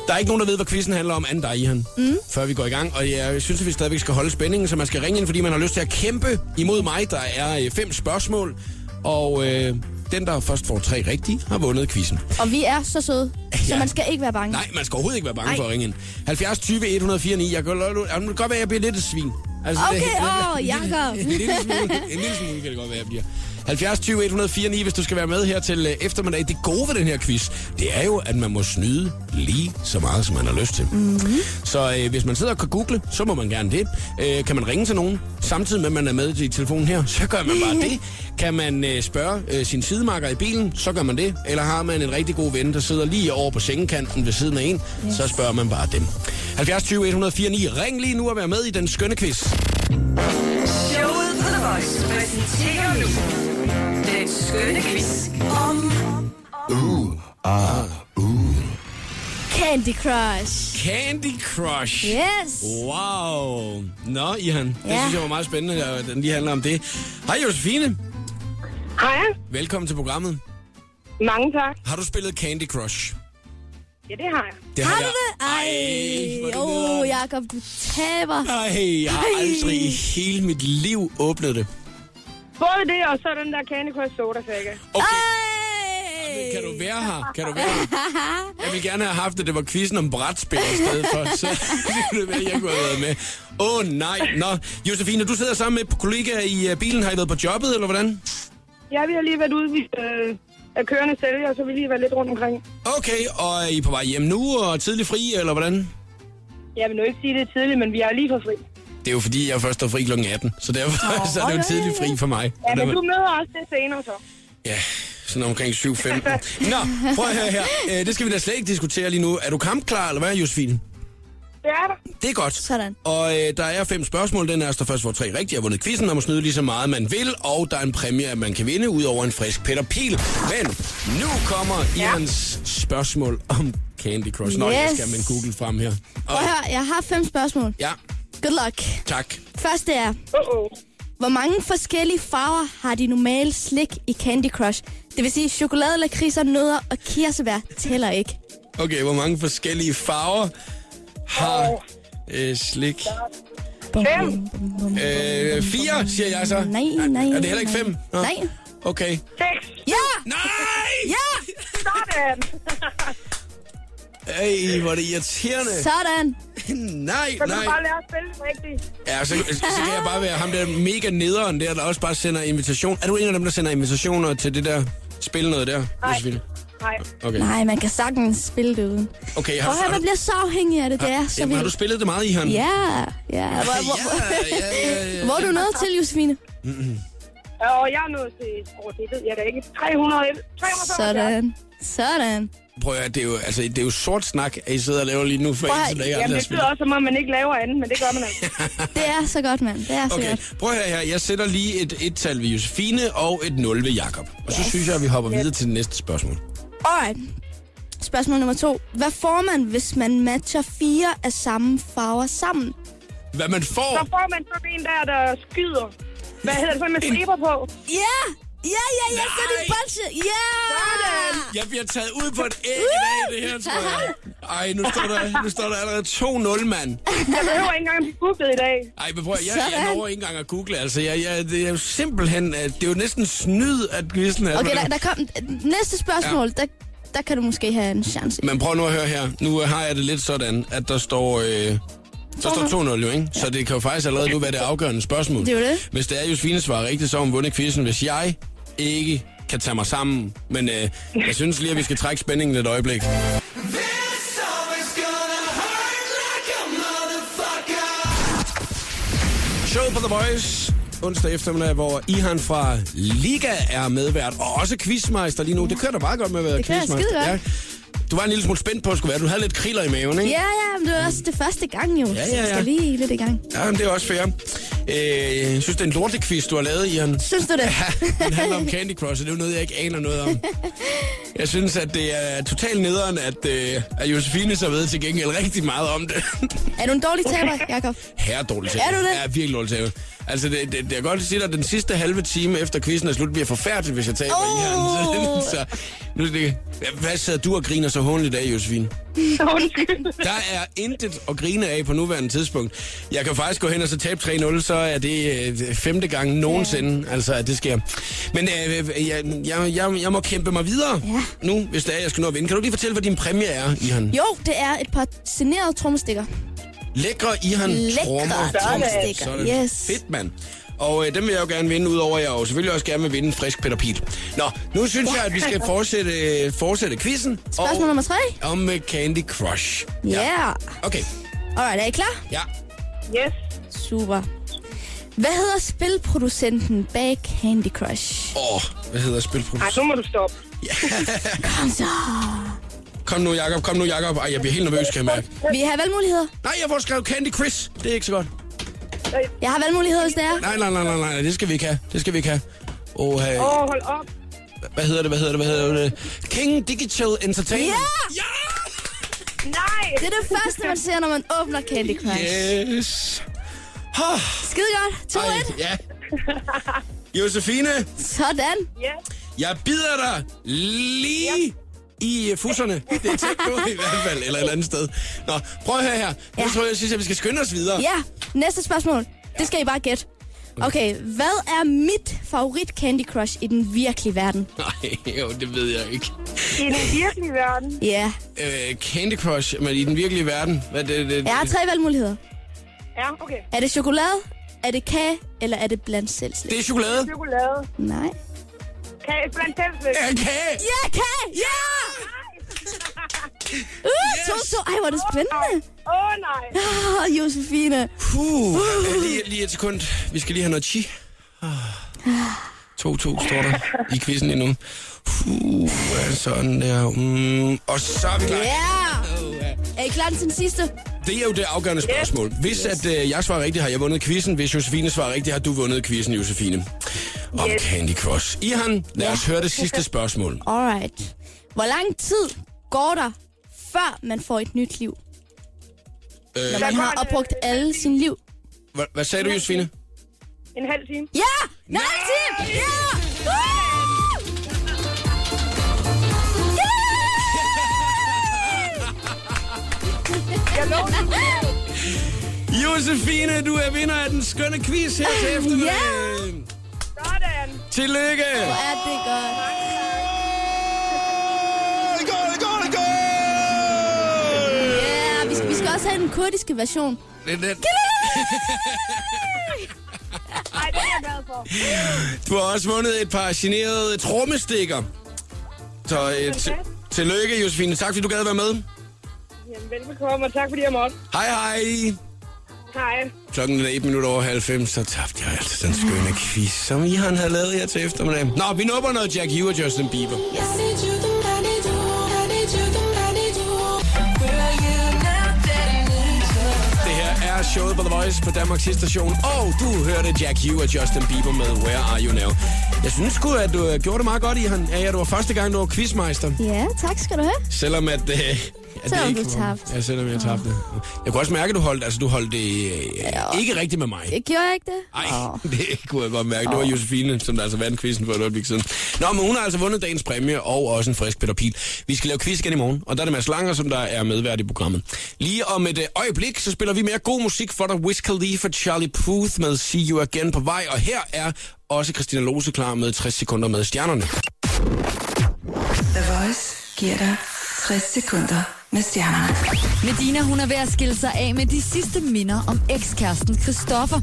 Der er ikke nogen, der ved, hvad quizzen handler om, anden dig, Ihan, mm. før vi går i gang. Og jeg synes, at vi stadigvæk skal holde spændingen, så man skal ringe ind, fordi man har lyst til at kæmpe imod mig. Der er øh, fem spørgsmål, og øh, den, der først får tre rigtige, har vundet quizzen. Og vi er så søde, så Ja. man skal ikke være bange. Nej, man skal overhovedet ikke være bange Ej. Nej. for at ringe ind. 70 20 104 9. Jeg kan godt, jamen, det kan godt være, at jeg bliver lidt et svin. Altså, Okay, åh, Jacob. En lille, smule, en lille smule kan det godt være, jeg bliver. 70 20 104 9, hvis du skal være med her til øh, eftermiddag. Det gode ved den her quiz, det er jo, at man må snyde lige så meget, som man har lyst til. Mm-hmm. Så øh, hvis man sidder og kan google, så må man gerne det. Øh, kan man ringe til nogen, samtidig med, at man er med i telefonen her, så gør man bare det. Kan man øh, spørge øh, sin sidemarker i bilen, så gør man det. Eller har man en rigtig god ven, der sidder lige over på sengekanten ved siden af en, yes. så spørger man bare dem. 70 20 104 9. Ring lige nu og vær med i den skønne quiz. Showet på The Voice præsenterer nu den skønne quiz om Candy Crush. Candy Crush. Yes. Wow. Nå, Ihan, ja. det Ja. synes jeg var meget spændende, at den lige handler om det. Hej Josefine, Hej, velkommen til programmet. mange tak. Har du spillet Candy Crush? Ja, det har jeg. Det Har jeg. du det? Ej, hvor er det åh, nederen. oh, Jacob, du taber. Nej, jeg har Ej. aldrig i hele mit liv åbnet det. Både det, og så den der Candy Crush Soda Saga. Okay, Ej. kan du være her? Kan du være her? Jeg ville gerne have haft, at det var quizzen om brætspil i stedet for, så ville det være, jeg kunne have været med. Åh oh, nej, nå. Josefine, du sidder sammen med kollegaer i øh, bilen. Har I været på jobbet, eller hvordan? Ja, vi har lige været ude øh, af kørende sælger, og så har vi lige været lidt rundt omkring. Okay, og er I på vej hjem nu og tidlig fri, eller hvordan? Jeg vil nu ikke sige det er tidligt, men vi er lige for fri. Det er jo fordi, jeg først er fri kl. 18, så derfor så er det jo tidlig fri for mig. Ja, men Derfor- du møder også det senere så. Ja, sådan omkring 7.15. Nå, prøv at høre her. Øh, Det skal vi da slet ikke diskutere lige nu. Er du kampklar, eller hvad, Josefine? Det er der. Det er godt. Sådan. Og øh, der er fem spørgsmål. Den er, der først får tre rigtige, har vundet quizzen, og må snyde lige så meget, man vil. Og der er en præmie, at man kan vinde, ud over en frisk Peter Pil. Men nu kommer Ians spørgsmål om Candy Crush. Nå, jeg Yes. skal have min Google frem her. Og, Prøv at høre, jeg har fem spørgsmål. ja, Good luck. tak. Første er, Åh, oh, oh. hvor mange forskellige farver har de normale slik i Candy Crush? Det vil sige, chokolade, lakridser, nødder og kirsebær tæller ikke. Okay, hvor mange forskellige farver har øh, slik? Bum, Fem. bum, bum, bum. Øh, fire, siger jeg så. Nej, Er- nej, Er det heller ikke nej. fem? Nå. Nej. Okay. Seks. Ja! Nej! Ja! Sådan. Ej, hvor er det irriterende. Sådan. Nej, Så kan du bare nej. lære at spille den rigtigt. Ja, så, så kan jeg bare være ham der mega nederen der, der også bare sender invitation. Er du en af dem, der sender invitationer til det der spil noget der? Nej. Josefine? Nej. Okay. Nej, man kan sagtens spille det uden. Okay, har Prøv at du, høre, har, man du, bliver så afhængig af det, det er så jamen, har du vildt. spillet det meget i hånden? Ja, ja. Hvor, hvor, ja, ja, ja. hvor er du nået til, Josefine? Og jeg er nået til, åh, oh, det ved jeg da ikke, 300, 375. Sådan. Sådan. Prøv at høre, det er jo, altså, det er jo sort snak, at I sidder og laver lige nu for Prøv at- en, som der ikke Jamen, aldrig har det spillet. lyder også, som om man ikke laver andet, men det gør man altså. Det er så godt, mand. Det er så Okay, godt. prøv her her. Jeg sætter lige et et tal ved Josefine og et 0 ved Jakob. Og så synes jeg, at vi hopper videre til det næste spørgsmål. Alright. Spørgsmål nummer to. Hvad får man, hvis man matcher fire af samme farver sammen? Hvad man Så får... får man sådan en der, der skyder. Hvad hedder det, sådan med striber på? Ja! Ja, ja, ja, så er det Nej! bolsje! Ja! Jeg bliver taget ud på et æg i dag, det her, tror jeg. Ej, nu står der, nu står der allerede 2-0, mand. Jeg behøver ikke engang at blive googlet i dag. Ej, men prøv, at- jeg, jeg Sådan. når ikke engang at google, altså. Jeg, jeg, det er jo simpelthen... øh, Det er jo næsten snyd, at quizzen er... Okay, der, der kom... Næste spørgsmål, der, der kan du måske have en chance. Men prøv nu at høre her. Nu øh, har jeg det lidt sådan, at der står... Øh, der står 2-0 jo, ikke? Så det kan jo faktisk allerede nu være det afgørende spørgsmål. Det er jo det. Hvis det er, Josefine svarer rigtigt, så har hun vundet quizzen. Hvis jeg ikke kan tage mig sammen. Men øh, jeg synes lige, at vi skal trække spændingen et øjeblik. Show på The Voice. onsdag eftermiddag, hvor Ihan fra Liga er medvært, og også quizmeister lige nu. Det kører da meget godt med at være Det kører quizmeister. skide godt. Ja. Du var en lille smule spændt på, at skulle være. Du havde lidt kriller i maven, ikke? Ja, ja, men det er også det første gang jo. ja, så jeg ja. skal lige lidt i gang. Ja, men det er også fair. Øh, jeg synes, det er en lortekvist, du har lavet, Ian. Synes du det? Ja, den handler om Candy Crush, og det er jo noget, jeg ikke aner noget om. Jeg synes, at det er totalt nederen, at, øh, at Josefine så ved til gengæld rigtig meget om det. Er du en dårlig taber, Jakob? Herre dårligt taber. Er du det? Ja, virkelig dårligt taber. Altså, det, det, det, jeg kan godt sige dig, at den sidste halve time efter quizzen er slut, bliver forfærdeligt, hvis jeg taber Åh! i hjernen. Så, så, nu, er det, hvad sad du og griner så håndligt af, Josefine? Undskyld. Der er intet at grine af på nuværende tidspunkt. Jeg kan faktisk gå hen og så tabe 3-0, så er det øh, femte gang nogensinde, ja. altså at det sker. Men øh, jeg, jeg, jeg, jeg må kæmpe mig videre ja. nu, hvis det er, jeg skal nå at vinde. Kan du lige fortælle, hvad din præmie er, Ihan? Jo, det er et par generede trommestikker. Lækre Ihan Lækre trommer. trommestikker, Sådan. yes. Fedt, mand. Og øh, dem vil jeg jo gerne vinde, udover at jeg jo selvfølgelig også gerne vil vinde en frisk Peter Piet. Nå, nu synes jeg, at vi skal fortsætte, øh, fortsætte quizzen. Spørgsmål nummer tre? Og, om øh, Candy Crush. Ja. Yeah. Okay, Alright, er I klar? ja. Yes. Super. Hvad hedder spilproducenten bag Candy Crush? Åh, oh, hvad hedder spilproducenten? Ej, nu må du stoppe. Kom så. Kom nu, Jakob. Kom nu, Jakob. Ej, jeg bliver helt nervøs, kan jeg mærke. Vi har valgmuligheder. Nej, jeg får skrevet Candy Chris. Det er ikke så godt. Jeg har valgmuligheder, hvis det er. Nej, nej, nej, nej, nej. Det skal vi ikke have. Det skal vi ikke have. Åh, hey. Åh, oh, hold op. hvad hedder det, hvad hedder det, hvad hedder det? King Digital Entertainment. Ja! Nej! Det er det første, man ser, når man åbner Candy Crush. Yes! Oh, Skide godt. 2-1. ja. Josefine, Sådan. Ja. jeg bider dig lige i øh, fusserne. Det er tæt på i hvert fald, eller et eller andet sted. Nå, prøv at høre her. Nu tror jeg, jeg synes, at vi skal skynde os videre. Ja, næste spørgsmål. Det skal I bare gætte. Okay, hvad er mit favorit Candy Crush i den virkelige verden? Nej, jo, det ved jeg ikke. I den virkelige verden. Ja, Øh, Candy Crush, men i den virkelige verden. Hvad er det, det, jeg har tre valgmuligheder. Ja, okay. Er det chokolade, er det kage, eller er det blandt selv det er chokolade. Chokolade. Nej. Kage blandt tændsvæk. Ja, kage. Ja, kage! Ja! Uh, to, to. Ej, hvor er det spændende. Åh, oh, nej. Åh, oh, Josefine. Puh. Øh, Lige, lige et sekund. Vi skal lige have noget chi. 2-2 står der i quizzen endnu. Puh, sådan der. Mm, og så er vi klar. Ja! Er I klar til den sidste? Det er jo det afgørende spørgsmål. Hvis at, øh, jeg svarer rigtigt, har jeg vundet quizzen. Hvis Josefine svarer rigtigt, har du vundet quizzen, Josefine. Om Yes. Candy Crush. Ihan, lad os høre det sidste spørgsmål. Alright. Hvor lang tid går der, før man får et nyt liv? Når man har opbrugt alle sin liv. Hvad, Øh, hvad sagde du, Josefine? En halv time. Ja! Nej, Tim! Ja! Woo! Jeg lå Josefine, du er vinder af den skønne quiz her til eftermiddagen. Yeah. sådan. Tillykke! Hvor er det godt. Skål, skål, skål, skål! Ja, vi skal, vi skal også have den kurdiske version. Det er den. Ej, det er jeg glad for. Du har også vundet et par generede trommestikker. Så øh, t- tillykke, Josefine. Tak, fordi du gad være med. Jamen, velbekomme, og tak fordi jeg måtte. Hej, hej. Hej. Klokken er 1 minut over 90, så tabte jeg altså den skønne quiz, som I har lavet her til eftermiddag. Nå, vi nupper noget Jack Hugh og Justin Bieber. I need you the way I need you, I need you the way I need you. Girl, you know that I need you. Det her er showet på The Voice på Danmarks station, og du hørte Jack Hugh og Justin Bieber med Where Are You Now. Jeg synes sgu, at du øh, gjorde det meget godt, Ihan. Ja, ja, du var første gang, du var quizmeister. Ja, tak skal du have. Selvom at... Øh, at Selvom du var- tabte. Ja, selvom jeg tabte. Jeg kunne også mærke, at du holdt, altså, du holdt det øh, ikke rigtigt med mig. Jeg gjorde jeg ikke det? Ej, Åh. det kunne jeg godt mærke. Det var Josefine, som der altså vandt quizzen for et øjeblik siden. Nå, men hun har altså vundet dagens præmie og også en frisk Peter Pil. Vi skal lave quiz igen i morgen, og der er det Mads Langer, som der er medvært i programmet. Lige om et øh, øjeblik, så spiller vi mere god musik for dig. Wiz Khalifa, Charlie Puth med See You Again på vej, og her er også Christina Lose klar med 60 sekunder med stjernerne. The Voice giver dig 60 sekunder med stjernerne. Medina, hun er ved at skille sig af med de sidste minder om ekskæresten Christoffer.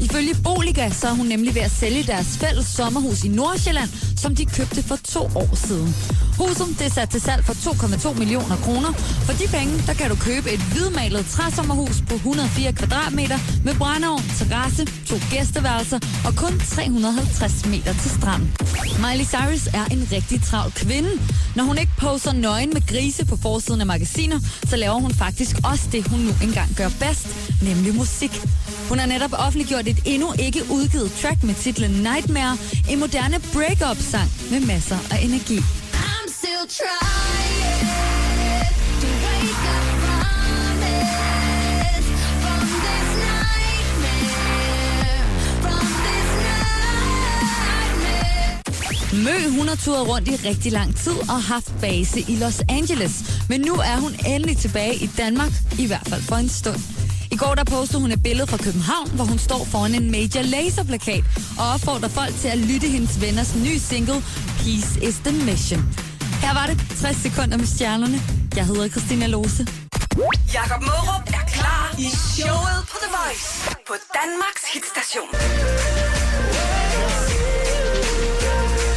Ifølge Boliga så er hun nemlig ved at sælge deres fælles sommerhus i Nordsjælland, som de købte for to år siden. Huset det er sat til salg for 2,2 millioner kroner. For de penge, der kan du købe et hvidmalet træsommerhus på 104 kvadratmeter med brændeovn, terrasse, to gæsteværelser og kun 350 meter til stranden. Miley Cyrus er en rigtig travl kvinde. Når hun ikke poser nøgen med grise på forsiden af magasiner, så laver hun faktisk også det, hun nu engang gør bedst, nemlig musik. Hun har netop offentliggjort et endnu ikke udgivet track med titlen Nightmare, en moderne break-up-sang med masser af energi. I'm still trying to wake up from this, from this nightmare, from this nightmare. Mø, hun har turet rundt i rigtig lang tid og haft base i Los Angeles. Men nu er hun endelig tilbage i Danmark, i hvert fald for en stund. I går der postede hun et billede fra København, hvor hun står foran en major laserplakat og opfordrer folk til at lytte hendes venners nye single, Peace is the Mission. Her var det 60 sekunder med stjernerne. Jeg hedder Christina Lose. Jakob Mørup er klar i showet på The Voice på Danmarks hitstation.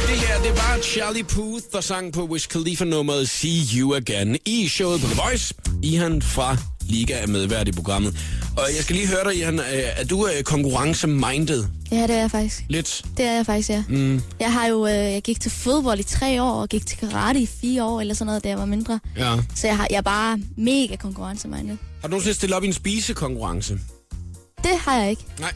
Det her, det var Charlie Puth, der sang på Wiz Khalifa-nummeret See You Again i showet på The Voice. Ihan fra Liga er medvært i programmet. Og jeg skal lige høre dig, Ihan, øh, er du øh, konkurrence-minded? Ja, det er jeg faktisk. Lidt. Det er jeg faktisk, ja. Mm. Jeg har jo, øh, jeg gik til fodbold i tre år, og gik til karate i fire år, eller sådan noget, da jeg var mindre. Ja. Så jeg, har, jeg er bare mega konkurrencemindet. Har du nogensinde stillet op i en spisekonkurrence? Det har jeg ikke. Nej.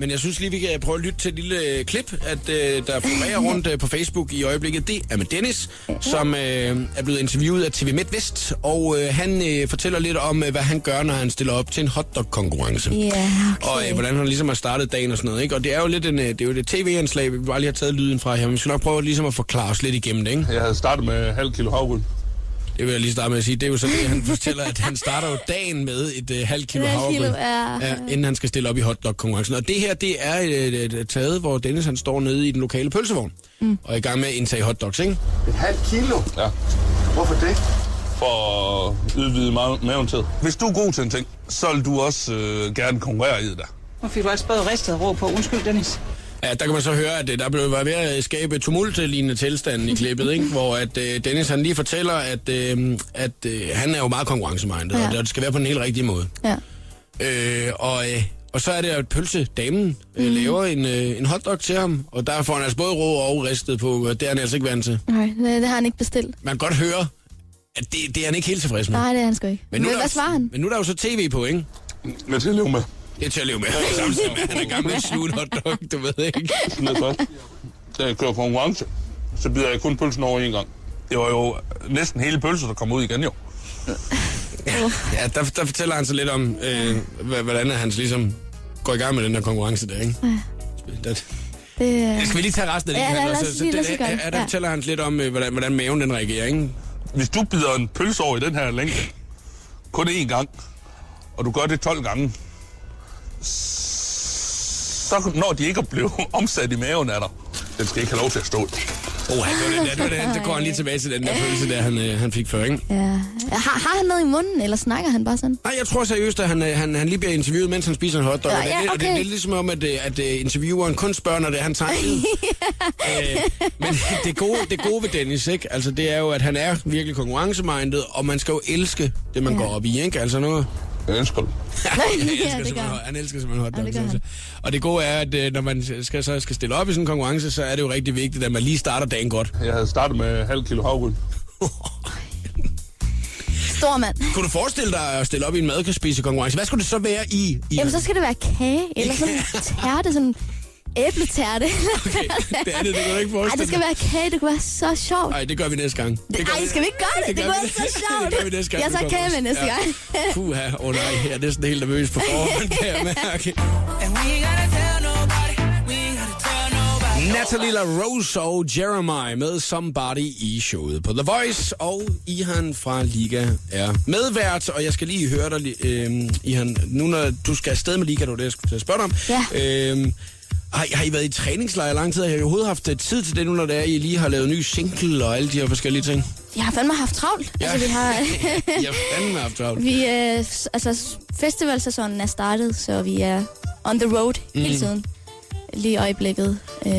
Men jeg synes lige, vi kan prøve at lytte til et lille øh, klip, at øh, der florerer rundt øh, på Facebook i øjeblikket. Det er med Dennis, som øh, er blevet interviewet af TV MidtVest, og øh, han øh, fortæller lidt om, øh, hvad han gør, når han stiller op til en hotdog-konkurrence. Ja, okay. Og øh, hvordan han ligesom har startet dagen og sådan noget, ikke? Og det er jo lidt en, øh, det er jo et tv-anslag, vi bare lige har taget lyden fra her, men vi skal nok prøve ligesom at forklare os lidt igennem det, ikke? Jeg havde startet med halv kilo havgryn. Det vil jeg lige starte med at sige. Det er jo så det, han fortæller, at han starter jo dagen med et øh, halvt kilo Et halvt havregryn, kilo, ja. ja, inden han skal stille op i hotdog-konkurrencen. Og det her, det er et, et, et taget, hvor Dennis han står nede i den lokale pølsevogn mm. og er i gang med at indtage hotdogs, ikke? Et halvt kilo? Ja. Hvorfor det? For at udvide ma- maven til. Hvis du er god til en ting, så vil du også øh, gerne konkurrere i det der. Nu fik du altså både ristet og rå på. Undskyld, Dennis. Ja, der kan man så høre, at øh, der blev var ved at skabe tumult-lignende tilstanden i klippet, ikke? hvor at, øh, Dennis han lige fortæller, at, øh, at øh, han er jo meget konkurrencemindet, ja. Ja. og det skal være på den helt rigtige måde. Ja. Øh, og, øh, og så er det, at pølsedamen øh, Mhm. laver en, øh, en hotdog til ham, og der får han altså både rå og ristet på, og det er han altså ikke vant til. Nej, det, det har han ikke bestilt. Man kan godt høre, at det, det er han ikke helt tilfreds med. Nej, det er han sgu ikke. Men, nu nu er der hvad jo- svarer han? Men nu er der jo så tv på, ikke? Men til at leve med. Det er til at leve med. Samtidig med, at han er gammel med sluge en hotdog, du ved ikke. Det er godt. Da jeg kører konkurrence, så bider jeg kun pølsen over en gang. Det var jo næsten hele pølsen, der kom ud igen jo. Ja, der, der fortæller han så lidt om, øh, hva- hvordan er hans ligesom går i gang med den der konkurrence der, ikke? Der, Det, øh, skal vi lige tage resten af det? Ja, Johan? lad os Og lige- lad det, os lige gøre det. ja, der Ja. fortæller han lidt om, øh, hvordan, hvordan maven den reagerer, ikke? Hvis du bider en pølse over i den her længde, kun én gang, og du gør det 12 gange, så når de ikke er blevet omsat i maven af dig, den skal ikke have lov til at stå. Åh, oh, det var den der, det var den, der går han lige tilbage til den der følelse der, han, øh, han fik før, ikke? ja. Har, har han noget i munden, eller snakker han bare sådan? Nej, jeg tror seriøst, at han, øh, han, han lige bliver interviewet, mens han spiser en hotdog. Ja, og, det, er ja, lidt- og det er okay. lidt ligesom om, at, øh, at øh, intervieweren kun spørger, når det er, han tager tid. øh, men det gode, det gode ved Dennis, ikke? Altså, det er jo, at han er virkelig konkurrencemindet, og man skal jo elske det, man ja. Ja. går op i, ikke? Altså noget... Jeg elsker det. Han elsker, Ja, det gør simpelthen- han. han elsker simpelthen hotdog. Ja, det gør han. Og det gode er, at øh, når man skal, så skal stille op i sådan en konkurrence, så er det jo rigtig vigtigt, at man lige starter dagen godt. Jeg havde startet med halv kilo havgryn. Stor mand. Kunne du forestille dig at stille op i en madkaspisekonkurrence? Hvad skulle det så være i? i Jamen, så skal det være kage, eller sådan en tærte, sådan en æbletærte. Okay, det andet, det kan du ikke Ej, forestille det skal dig. være kage, det kunne være så sjovt. Ej, det gør vi næste gang. Det gør Ej, skal vi ikke gøre det? Det, gør det vi kunne være så næste- sjovt. Det gør vi næste gang. Jeg tager kage med næste gang. Puha, åh oh, nej, jeg er næsten helt nervøs på forhånd, kan jeg mærke. And we ain't gotta tell nobody. We ain't gotta tell nobody. Natalie LaRose og Jeremiah med Somebody i showet på The Voice, og Ihan fra Liga er medvært, og jeg skal lige høre dig, øh, Ihan, nu når du skal afsted med Liga, det var det, jeg skulle til at spørge dig om. Ja. Øh, har, I- har I været i træningslejr i lang tid? Har I overhovedet haft øh, tid til det nu, når det er, I lige har lavet ny single og alle de her forskellige ting? Vi har fandme haft travlt. Ja. Altså, vi har... jeg fandme haft travlt. vi, øh, s- altså, s- festivalsæsonen er startet, så vi er on the road mm. hele Mm. tiden. Lige i øjeblikket. Øh,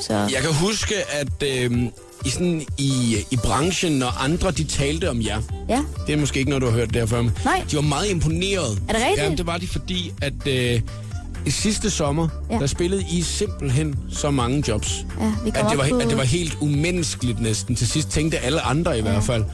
så Jeg kan huske, at øh, i, sådan, i, i branchen, når andre de talte om jer, ja, det er måske ikke noget, du har hørt derfor, men Nej. de var meget imponeret. Er det rigtigt? Jamen, det var de, fordi at øh, i sidste sommer, Ja. ja. der spillede I simpelthen så mange jobs, ja, vi at kom det, var, op på... at det var helt umenneskeligt næsten. Til sidst tænkte alle andre i hvert fald.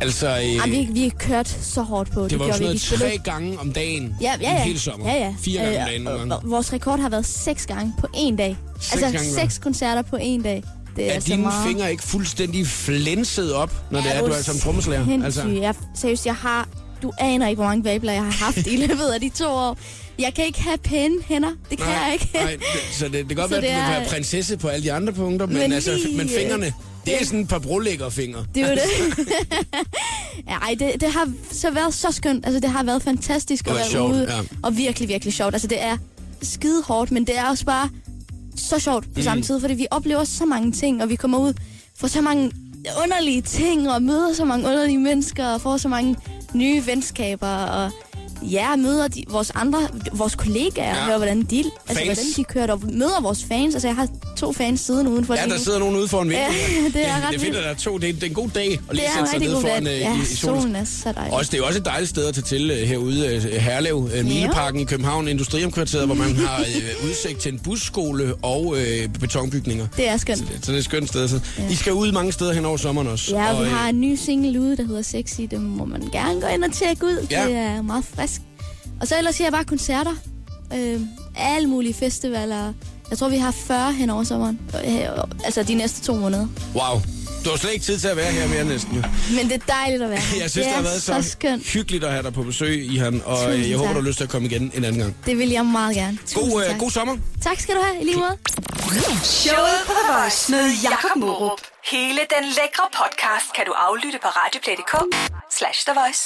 Altså, øh, Ej, vi, vi kørte så hårdt på. det var jo gjorde sådan vi. Vi noget spillede- tre gange om dagen Ja, ja, ja. i hele sommer. Ja, ja. Fire gange om Øh, dagen nogle gange. og- og Vores rekord har været seks gange på én dag. Seks altså gange, hva'? seks koncerter på én dag. Det er, Er altså dine meget... fingre ikke fuldstændig flænset op, når det er, du er som trommeslager? Altså. Jeg, seriøst, jeg har... Du aner ikke, hvor mange vabler jeg har haft i løbet af de to år. Jeg kan ikke have pæne hænder. Det kan jeg ikke. Nej, det, så det, det kan godt Så være, at du det vil er- være prinsesse på alle de andre punkter, men, Men men, altså, lige, men øh, fingrene, det er sådan et par brolæggerfingre. Det er jo det. Altså. Ej, det, det har så været så skønt. Altså, det har været fantastisk Det at var være sjovt, ude. ja. Og virkelig, virkelig sjovt. Altså, det er skide hårdt, men det er også bare så sjovt på mm. samme tid, fordi vi oplever så mange ting, og vi kommer ud for så mange underlige ting, og møder så mange underlige mennesker, og får så mange nye venskaber, og ja, møder de, vores andre, vores kollegaer, Ja. ja. hører, hvordan de, altså, Fans. hvordan de kører, og møder vores fans. Altså, jeg har to fans siden udenfor. Ja, lige der nu. sidder nogen ude foran vinduet. Ja, det er ja, det ret er fedt, vildt. at der er to. Det er, det er en god dag at Det lige er en sætte sig rigtig ned god foran dag. øh, Ja, i, i solen. solen er så dejlig. Også, det er jo også et dejligt sted at tage til øh, herude, øh, Herlev, øh, Mileparken i København, Industriomkvarteret, hvor man har øh, udsigt til en busskole og øh, betonbygninger. Det er skønt. Så det er et skønt sted. Så. I skal ud mange steder hen over sommeren også. Ja, og vi øh, har en ny single ude, der hedder Sexy. Den må man gerne gå ind og tjekke ud. Ja. Ja. Det er meget frisk. Og så ellers her er bare koncerter. Øh, alle mulige festivaler. Jeg tror, vi har 40 hen over sommeren. Øh, Altså de næste to måneder. Wow. Du har slet ikke tid til at være her mere næsten. Men det er dejligt at være her. Jeg synes, det, er har været så, så skønt. hyggeligt at have dig på besøg, Ihan, og Tusind Tusind jeg håber, tak. du har lyst til at komme igen en anden gang. Det vil jeg meget gerne. Tusind God, øh, tak. god sommer. tak skal du have, i lige måde. Showet på The Voice med Jakob Morup. Hele den lækre podcast kan du aflytte på radioplay.dk slash The Voice.